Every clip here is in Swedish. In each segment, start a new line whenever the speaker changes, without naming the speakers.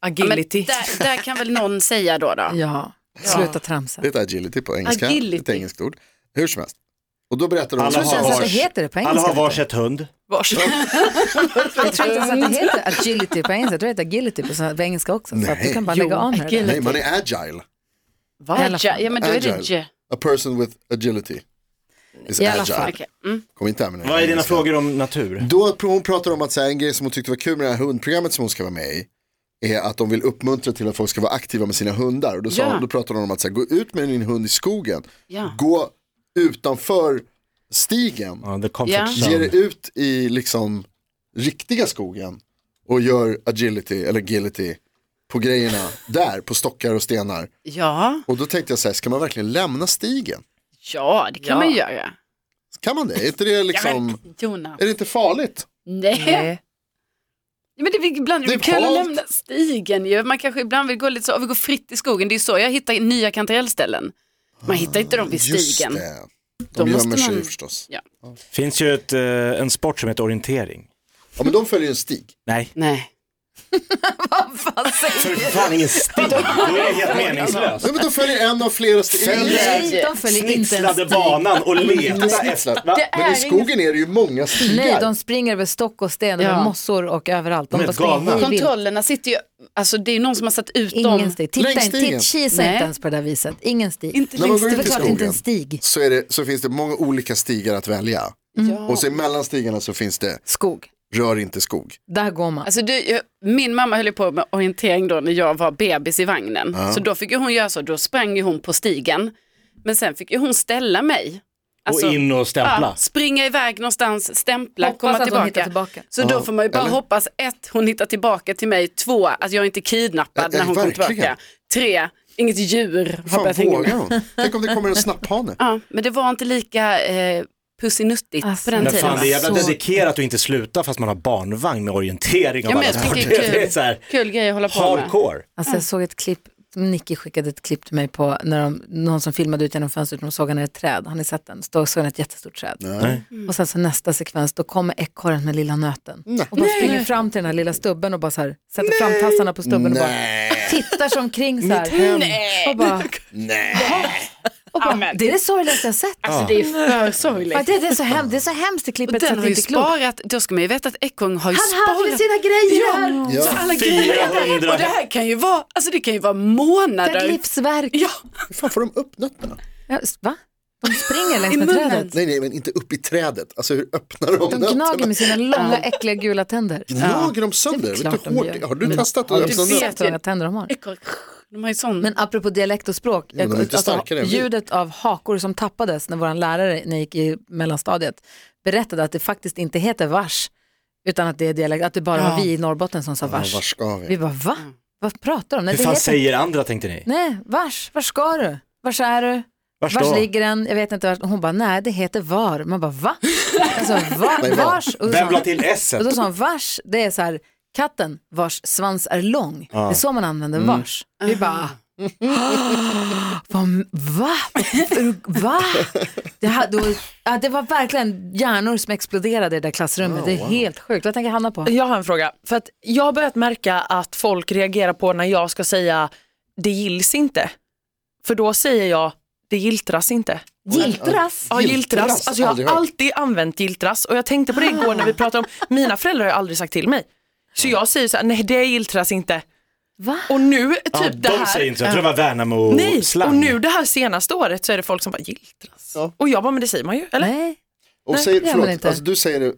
Ja, men
Agility.
där, där kan väl någon säga då. då.
Ja, sluta tramsa.
Det heter agility på engelska.
Agility.
Ett engelskt ord. Hur som helst. Och då berättade hon...
Alla Alltså,
Jag tror inte ens att det heter det på
Alla
engelska.
har varsitt hund.
Vars.
Jag tror inte ens att det heter agility på engelska. Jag tror det heter agility på, på engelska också. Så att du
Nej.
kan bara lägga av med det.
agility.
Nej, man är agile.
I alla
Ja,
fall.
ja, men då är det
Agile.
J.
A person with agility. Is
I alla
agile.
fall.
Okej. Mm.
Kom inte här med den här
Vad är dina
engelska.
frågor om natur?
Då pr- hon pratar om att så här, en grej som hon tyckte var kul med det här hundprogrammet som hon ska vara med i är att de vill uppmuntra till att folk ska vara aktiva med sina hundar. Och då, sa
Ja.
hon, då pratade hon om att så här, gå ut med din hund i skogen,
Ja.
gå utanför stigen,
Ja, the comfort
Ja.
Alltså.
ge
zone.
dig ut i liksom riktiga skogen och gör agility eller agility på grejerna där, på stockar och stenar.
Ja,
Och då tänkte jag så här, ska man verkligen lämna stigen?
ja, det kan man ju göra.
Kan man det? Är inte det
Ja, men,
liksom,
Jonas.
är det inte farligt?
Nej.
Nej.
Ja, Men det är ibland,
Det är
du kan ju
halt.
lämna stigen ju. Man kanske ibland vill gå lite så, "Åh, vi går fritt i skogen. Det är så jag hittar nya kantarellställen. Man hittar inte dem vid stigen.
Just det.
Då
De
måste
gömmer sig
man-
förstås.
finns ju ett, eh, en sport som heter orientering.
Ja men de följer en stig.
Nej.
Nej.
För fan ingen stig. Då är det helt meningslöst.
Nej men de följer en av flera steg.
Nej, de följer inte ens
Snitslade banan och leta efter. Va?
Men i skogen är det ju många stigar.
Nej, de springer över stock och sten och
Ja.
mossor och överallt. De
De är
bara springer
galna.
hej vilt.
Kontrollerna sitter ju, alltså det är ju någon som har satt ut
Ingen
dem.
stig. Titta
Längs
inte,
stigen.
titta, kisa
Nej.
inte ens på det där viset. Ingen stig.
Inte liksom-
När man går
det är
ut
väl
i
klart det inte är
skogen
en stig. Mm.
så, är det, så finns det många olika stigar att välja. Och så mellan stigarna så finns det
Skog.
rör inte skog.
Där går man.
Alltså du, jag, min mamma höll ju på med orientering då när jag var bebis i vagnen. Så då fick ju hon göra så, då sprang ju hon på stigen. Men sen fick ju hon ställa mig. Alltså,
Och in och stämpla.
Ja, springa iväg någonstans, stämpla,
Hoppas
komma
att hon
tillbaka.
hittar tillbaka.
Så då får man ju bara hoppas, ett, hon hittar tillbaka till mig, två, att jag inte är kidnappad
Ja,
när hon kommer
verkligen.
tillbaka, tre, inget djur har
Fan
börjat hänga
vågar
med.
hon? Tänk om det kommer en snapphane.
Ja, men det var inte lika eh, pussinuttigt
Alltså,
på den
Men
tiden.
fan det är jävla
Så-
dedikerat att inte sluta fast man har barnvagn med orientering
Ja,
av
men
alla
jag tycker
sporter.
det är kul.
Det är så här
Kul grej att hålla på med.
hardcore.
Alltså jag såg ett klipp, Nicky skickade ett klipp till mig på när de, någon som filmade ut genom fönstret och de såg han i ett träd. Har ni sett den? Då såg han ett jättestort träd.
Mm.
Och sen så nästa sekvens, då kommer ekorren med lilla nöten. Och bara springer fram till den här lilla stubben och bara så här, sätter fram tassarna på stubben och bara tittar sig omkring så här. Och bara, och bara, det är det sorgligaste jag sett.
Alltså det är för sorgligt.
Ja, Det, det, är så hem, det är så hemskt i
Och
klippet så
den
att
har
det
ju
inte är klokt.
sparat, då ska man ju veta att ekorren har ju
Han hade
sparat.
sina grejer här.
Ja.
alla grejer.
400.
Och det här kan ju vara, alltså det kan ju vara
Ett
månader.
livsverk.
Ja,
Hur fan får de upp nötterna?
Ja, s- Va? De springer längs
I
med
munnen.
trädet.
Nej nej men inte upp i trädet. Alltså hur öppnar de,
De
nötterna?
gnager med sina långa äckliga gula tänder.
Gnager de sönder?
Det är
Vet du
klart
hur
de
hårt
gör.
det är? Har du
Men-
testat att
du
öppna
vet.
nötterna?
Vet hur många tänder de har.
ekorren, de har ju sån.
Men apropå dialekt och språk,
men de är inte starkare än vi.
ljudet av hakor som tappades när vår lärare, när jag gick i mellanstadiet, berättade att det faktiskt inte heter vars, utan att det är dialekt, att det bara
Ah.
var vi i Norrbotten som sa vars.
Var ska vi?
Vi bara, va? Vad pratar de om? Nej,
Mm. Hur
det
fan
heter
säger andra tänkte ni?
Nej, vars? Var ska du? Vars är du?
Vars
vars
då?
ligger den? Jag vet inte. Vars. Hon bara, nej det heter var. Man bara, va? Alltså, va?
Nej, va?
vars? Och då, sa
Vem la
hon,
till s
och då sa hon, vars, det är så här, katten vars svans är lång. Det är så man använder
Mm.
vars. Vi bara, va? Va? va? Det, här, då, ja, det var verkligen hjärnor som exploderade i det där klassrummet. Det är
Oh,
helt sjukt. Vad tänker Hanna på?
Jag har en fråga. För att jag har börjat märka att folk reagerar på när jag ska säga det gills inte. För då säger jag det giltras inte.
Giltras?
Ja, giltras. Alltså jag
Aldrig
har
hört.
alltid använt giltras och jag tänkte på det igår när vi pratade om, mina föräldrar har aldrig sagt till mig. Så jag säger så här, nej det giltras inte.
Va?
Och nu, typ
Ja,
det
de
här.
säger inte så, jag tror det var Värnamo
Nej, och
slang.
nu det här senaste året så är det folk som bara giltras.
Ja.
Och jag bara, men det säger man ju, eller?
Nej.
Och
Nej,
säger,
det gör man
förlåt,
inte.
alltså du säger det,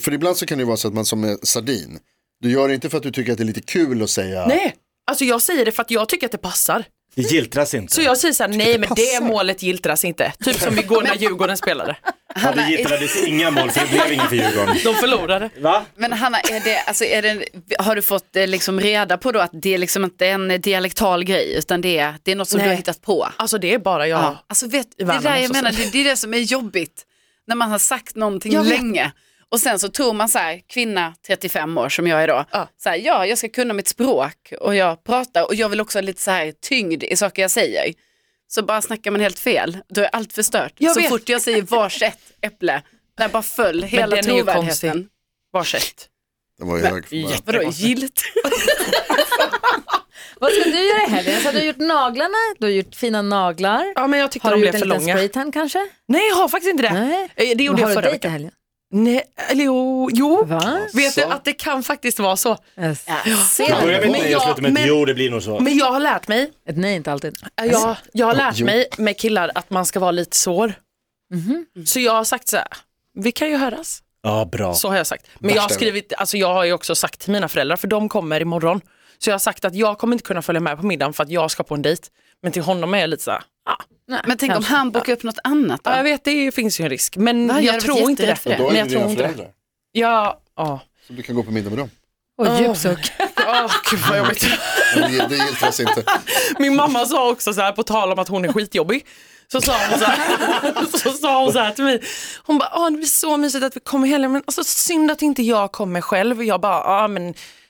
för ibland så kan det ju vara så att man som är sardin, du gör det inte för att du tycker att det är lite kul att säga,
Nej, alltså jag säger det för att jag tycker att det passar.
Det giltras inte.
Så jag säger så här, nej men det målet giltras inte. Typ som igår när Djurgården spelade.
Ja, det giltrades inga mål för det blev ingen för Djurgården.
De förlorade.
Va?
Men Hanna, är det, alltså, är det, har du fått eh, liksom reda på då att det är liksom inte är en dialektal grej utan det är, det är något som
Nej.
du har hittat på?
Alltså det är bara jag.
Ja. Alltså vet, det
Värnamo
där jag
så
menar,
säger
det, det är det som är jobbigt. När man har sagt någonting
Jag vet.
länge och sen så tror man så här, kvinna 35 år som jag är då,
Ja.
så här, ja jag ska kunna mitt språk och jag pratar och jag vill också ha lite så här tyngd i saker jag säger. så bara snackar man helt fel. Då är allt förstört.
Jag
så
vet.
fort jag säger varsitt äpple, där bara föll hela
den är ju
trovärdigheten.
konstig. Varsitt.
Den var ju hög för mig.
Vadå gilt?
Vad ska du göra i helgen? Så du har gjort naglarna, du har gjort fina naglar.
Ja, men jag tyckte
har du
de blev
gjort en
för
liten
långa.
spraytan kanske?
Nej, jag har faktiskt inte det.
Nej.
Eh, Det gjorde
har
jag
du
förra
dejt i
veckan.
helgen?
Nej, eller jo. jo.
Va?
Vet du att det kan faktiskt vara så.
Yes.
Jag börjar med ett
Men
nej
jag-
och slutar med ett
men- Mm.
jo, det blir nog så.
Men jag har lärt mig,
Ett nej är inte alltid.
eh, jag, jag har lärt
Jo.
mig med killar att man ska vara lite sår. Mhm. Så jag har sagt så här, vi kan ju höras.
Ja, bra.
Så har jag sagt. Men jag har,
Värsta-
skrivit, alltså jag har ju också sagt till mina föräldrar, för de kommer imorgon. Så jag har sagt att jag kommer inte kunna följa med på middagen för att jag ska på en dejt. Men till honom är jag lite så här, ah,
Men tänk om han bokar upp något annat då?
ja, jag vet det finns ju en risk. Men
Va, jag
jag
hade
tror
varit
inte det.
jätterädd för det.
Då
Men
är
jag
det
tror
dina
inte det.
föräldrar.
Ja, ja.
Så du kan gå på middag med dem.
Oj, djup suck.
Åh, gud vad jobbigt.
Men det, det gills inte.
Min mamma sa också så här, på tal om att hon är skitjobbig, så sa hon så här, så sa hon så här till mig. Hon bara, "Åh, det blir så mysigt att vi kommer i helgen, men alltså, synd att inte jag kommer själv. Jag bara, ah, men,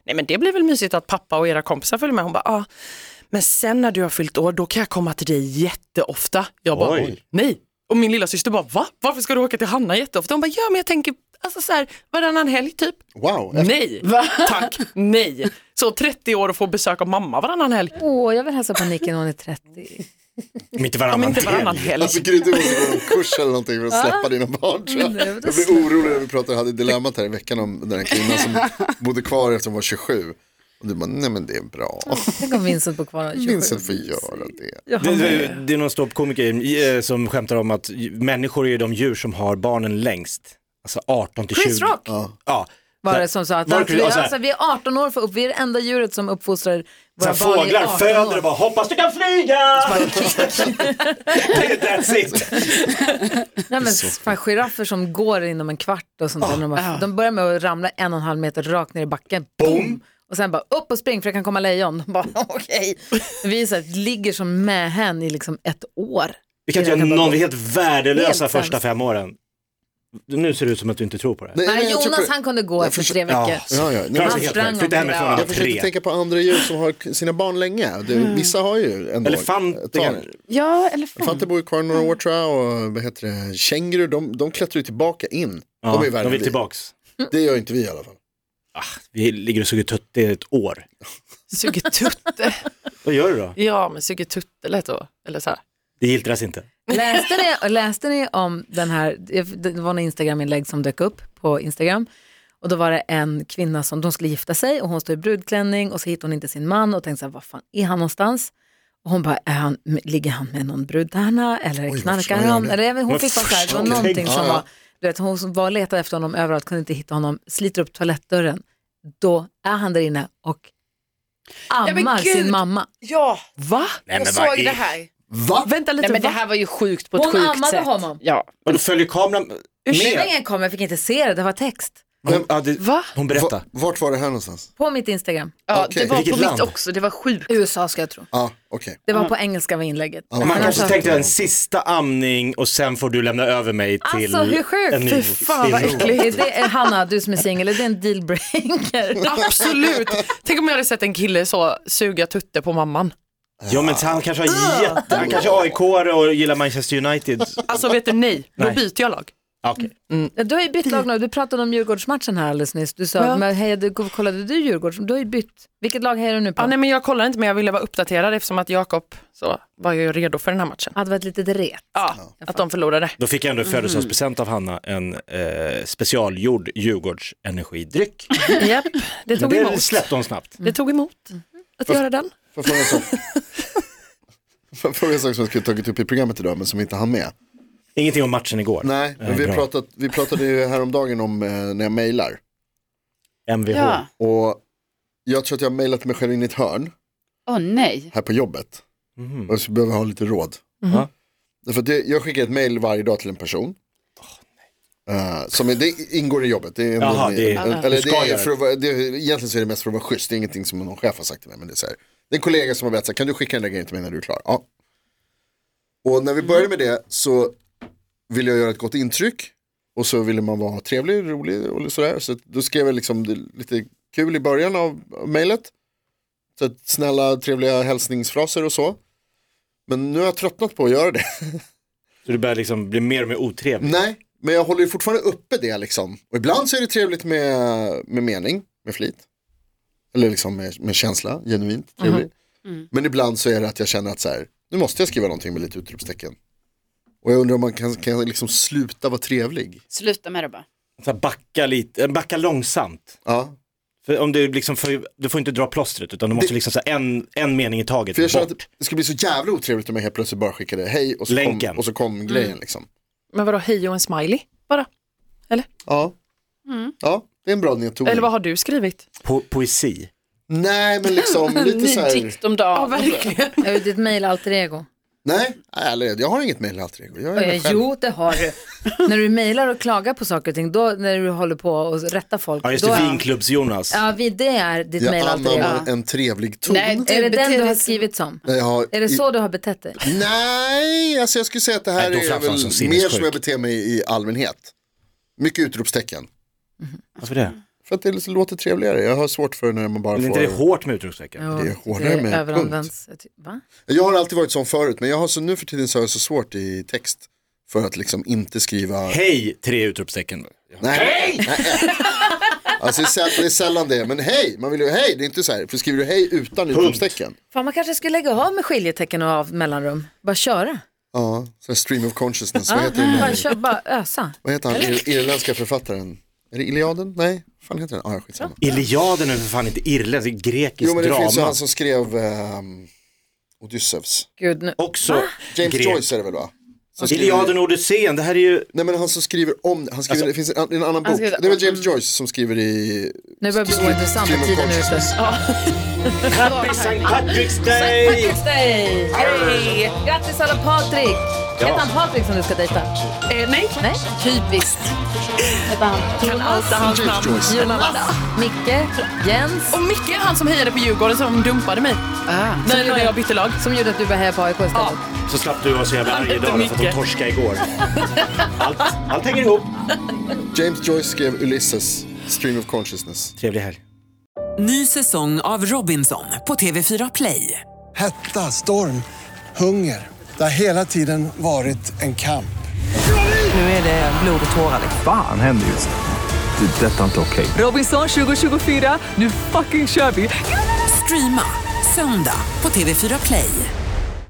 nej men det blir väl mysigt att pappa och era kompisar följer med. Hon bara, ah, men sen när du har fyllt år, då kan jag komma till dig jätteofta. Jag bara,
Oj.
nej. Och min lilla syster bara, va? Varför ska du åka till Hanna jätteofta? Hon bara, ja men jag tänker, alltså så här, varannan helg typ.
Wow. Efter,
Nej, tack, nej. Så 30 år och få besök av mamma varannan helg.
Åh, jag vill hälsa på Nicky när hon är 30.
Om inte
Om
varannan
inte varannan
helg.
helg.
alltså Gry, du måste gå en kurs eller någonting för att släppa dina barn tror jag.
Nej,
Jag
det är
blir orolig när vi pratade, jag hade dilemmat här i veckan om den här kvinnan som bodde kvar efter hon var 27. Och du bara, nej men det är bra.
Tänk om Vincent bor kvar och är 27.
Vincent får göra det.
Det, det, det är någon ståuppkomiker eh, som skämtar om att ju- människor är ju de djur som har barnen längst. Alltså 18 till 20.
Chris Rock
Ja.
var det som sa att
Var det
alltså,
Chris-
vi,
ja, så här.
alltså, vi är 18 år för upp, vi är det enda djuret som uppfostrar
Så
våra
här,
barn i
fåglar
18
föder
år.
och bara hoppas du kan flyga! That's it.
Nej, men fan, giraffer som går inom en kvart och sånt där, när de,
Ah,
bara, de börjar med att ramla en och en halv meter rakt ner i backen. Boom! Och sen bara upp och spring för det kan komma lejon. De Bara, okej. Vi är så här, ligger som mähän i liksom ett år.
Vi kan inte göra
Jag kan bara
någon, vi är helt värdelösa
Helt
första
sämst.
fem åren. Nu ser det ut som att du inte tror på det.
Nej,
Nej,
nej, jag tror
Jonas
på-
han kunde gå
Jag
efter
försö-
tre veckor.
Ja, ja. Nej,
Klarar
Han
sig helt själv.
sprang
men-
Flytta hemifrån
omkring.
när han
jag
var
försöker
tre.
tänka på andra djur som har sina barn länge. Det, Vissa har ju ändå ett
Elefanter
tag.
kanske.
Ja, elefanter.
Elefanter bor ju kvar några år tror jag och vad heter det, kängurur de, de klättrar ju tillbaka in. de är ju
Ja,
värre
de
än
vill
vi.
tillbaks.
Det gör inte vi i alla fall.
Vi ligger och suger tutte i ett år.
Suger tutte.
Vad gör du då?
ja, men suger tutte lät då. Eller så här.
Det giltras inte.
Läste ni, läste ni om den här, det var några Instagram-inlägg som dök upp på Instagram. Och då var det en kvinna som, de skulle gifta sig och hon står i brudklänning och så hittar hon inte sin man och tänkte så här, vad fan är han någonstans? Och hon bara, är han, ligger han med någon brud där nu? eller
vad
knarkar
fan är
han?
det?
Eller, jag vet, hon
Vad
fick bara så här, det var
fan?
någonting som
Ja, ja.
var, du vet, hon som var och letade efter honom överallt, kunde inte hitta honom, sliter upp toalettdörren. Då är han där inne och
men
ammar sin
gud.
mamma.
Ja,
Va?
jag såg det här.
Va?
Vänta lite,
Nej, men det
va?
här var ju sjukt på ett
Hon
sjukt
ammade
sätt.
honom.
Ja.
Och då följer kameran med.
Ringen kom, jag fick inte se det, det var text.
Hon, ja, det,
Va?
hon berättar.
Va- Vart var det här någonstans? Ah,
På mitt Instagram.
Ja,
Okej.
Det var
Vilket
på
land?
mitt också, det var sjukt.
USA ska jag tro.
Ja, okej.
Det var på engelska var inlägget.
Ja,
Man
men
kanske
alltså-
tänkte en sista amning och sen får du lämna över mig till
Alltså hur sjukt?
en ny
Fy
till
fan vad
en ny-
äckligt. Det är, Hanna, du som är singel, är det en dealbreaker?
Absolut. Tänk om jag hade sett en kille så suga tutte på mamman.
Ja men han kanske har jätte, han kanske är aik och gillar Manchester United.
Alltså vet du, nej. Då
Nej.
byter jag lag.
Okej.
Du har ju bytt lag nu, du pratade om Djurgårdsmatchen här alldeles nyss. Du sa,
Ja.
men hej, du, kollade du Djurgården? Du har ju bytt. Vilket lag hejar du nu på?
Ah, nej, men jag kollar inte, men jag ville vara uppdaterad eftersom att Jakob så var ju redo för den här matchen.
Hade varit lite ret.
Ja, att de förlorade.
Då fick jag
Mm.
ändå i födelsedagspresent av Hanna en eh, specialgjord Djurgårds energidryck.
Japp, det
Men
tog
det
emot.
släppte hon snabbt.
Det tog emot
Mm.
att göra den.
Får jag fråga en sak? Får jag fråga en sak som jag skulle tagit upp i programmet idag men som inte hann med?
Ingenting om matchen igår. Eh,
Nej, men vi,
bra.
pratat, vi pratade ju häromdagen om eh, när jag mejlar.
MVH.
Ja.
Och jag tror att jag har mejlat mig själv in i ett hörn
Åh nej.
här på jobbet.
Mhm.
Och så behöver jag ha lite råd.
Mm-hmm. Ja.
Därför att det, jag skickar ett mejl varje dag till en person. Eh, som är, det ingår i jobbet. Det är, en-
Jaha, det är-
en-
Du
eller det
ska
är
göra
för att vara, det, är- egentligen så är det mest för att vara schysst. Det är ingenting som någon chef har sagt till mig. Men det är, så här, det är en kollega som har berättat, så här, kan du skicka den där grejen till mig när du är klar? Ja. Och
Mm.
när vi började med det så ville jag göra ett gott intryck. Och så ville man vara trevlig, rolig och sådär. Så att då skrev jag liksom det- lite kul i början av av mejlet. Så att snälla, trevliga hälsningsfraser och så. Men nu har jag tröttnat på att göra det.
Så du börjar liksom bli mer och mer otrevlig.
Nej, men jag håller ju fortfarande uppe det liksom. Och ibland så är det trevligt med, med mening, med flit. Eller liksom med, med känsla, genuint
Mhm.
trevlig.
Mm.
Men ibland så är det att jag känner att så här, nu måste jag skriva någonting med lite utropstecken. Och jag undrar om man kan, kan jag liksom sluta vara trevlig.
Sluta med det bara.
Så här, backa lite, eh, backa långsamt.
Ja,
För om du liksom, för, du får inte dra plåstret utan du måste liksom så här, en, en mening i taget.
för jag känner
bort.
att det skulle bli så jävla otrevligt om jag helt plötsligt bara skickade hej och så,
Länken.
Kom, och så
Mm.
kom grejen liksom.
Men vadå, hej och en smiley bara?
Ja. ja, det är en bra nedtoning.
Mm. Eller vad har du skrivit?
Po poesi.
Nej, men liksom lite så
Ny
här.
dikt om dagen.
Ja, verkligen.
Jag har ju ditt mejl alter ego.
Nej, ärligt, jag har inget mejl alltid. Jag är mig
Eh,
själv.
Jo, det har du. när du mejlar och klagar på saker och ting, då, när du håller på och rätta folk.
Ja just
då
det,
är-
vinklubbs-Jonas.
Ja, vi- det är ditt mejl
Jag
alter ego.
anammar en trevlig ton.
Nej,
Är det den
beter
du har
dig som-
skrivit som?
Nej, jag har
Är det
i-
så du har betett dig?
Nej, alltså jag skulle säga att det
Nej,
här
då
är
framstår
väl
han som
mer
sinnessjuk.
som jag beter mig i allmänhet. Mycket utropstecken.
Varför det?
För att det liksom låter trevligare. Jag har svårt för när man bara
Är
får...
inte det hårt med utropstecken?
Jo,
Det är hårdare med
överanvänds. Jag ty- Va?
Jag har alltid varit sån förut, men jag har så nu för tiden så har jag så svårt i text. För att liksom inte skriva...
Hej, tre utropstecken.
Nej. Nej. Alltså det är, sällan, det är sällan det, men hej, man vill ju hej, det är inte så här, för skriver du hej utan utropstecken.
Fan, man kanske skulle lägga av med skiljetecken och av mellanrum. Bara köra.
Ja, så här stream of consciousness, vad
Ja,
heter det?
bara, kör, bara ösa.
Vad heter han, Ir- irländska författaren? Är det Iliaden? Nej, vad fan heter den? Ah, skitsamma.
Iliaden är för fan inte irländsk, det är grekiskt
Jo men det
drama.
finns ju alltså- han som skrev ehm, Odysseus.
Gud, nu.
Också
Ah, James
grek.
Joyce är det väl va? Som skriver-
Iliaden och Alltså- Odysseen, det här är ju,
Nej men han som skriver om, han skriver, det finns en, en annan bok.
skriver-
Det var James Joyce som skriver i...
nu börjar det bli ointressant.
Stream of
Tiden är ute.
consciousness.
Happy St. Patrick's Day!
Patrick's Day! Yay! Grattis alla Patrik! Heter han Patrik som du ska dejta?
Eh, nej,
Nej? Typiskt. Heter han Thomas?
hans namn.
Jonas? Micke? Jens?
Och Micke är han som hejade på Djurgården som dumpade mig.
Ah.
När jag- när jag bytte lag.
Som gjorde att du började heja på AIK istället?
Ja.
Så slapp du vara så jävla arg
heter
idag då, för att de
Micke.
torskade igår. Allt, allt hänger ihop.
James Joyce skrev Ulysses, Stream of Consciousness.
Trevlig helg.
Ny säsong av Robinson på TV4 Play.
Hetta, storm, hunger. Det har hela tiden varit en kamp.
Nu är det blod och tårar. liksom.
Fan händer just det. Det är detta inte okej.
Robinson 2024, nu fucking kör vi! Streama söndag på TV4 Play.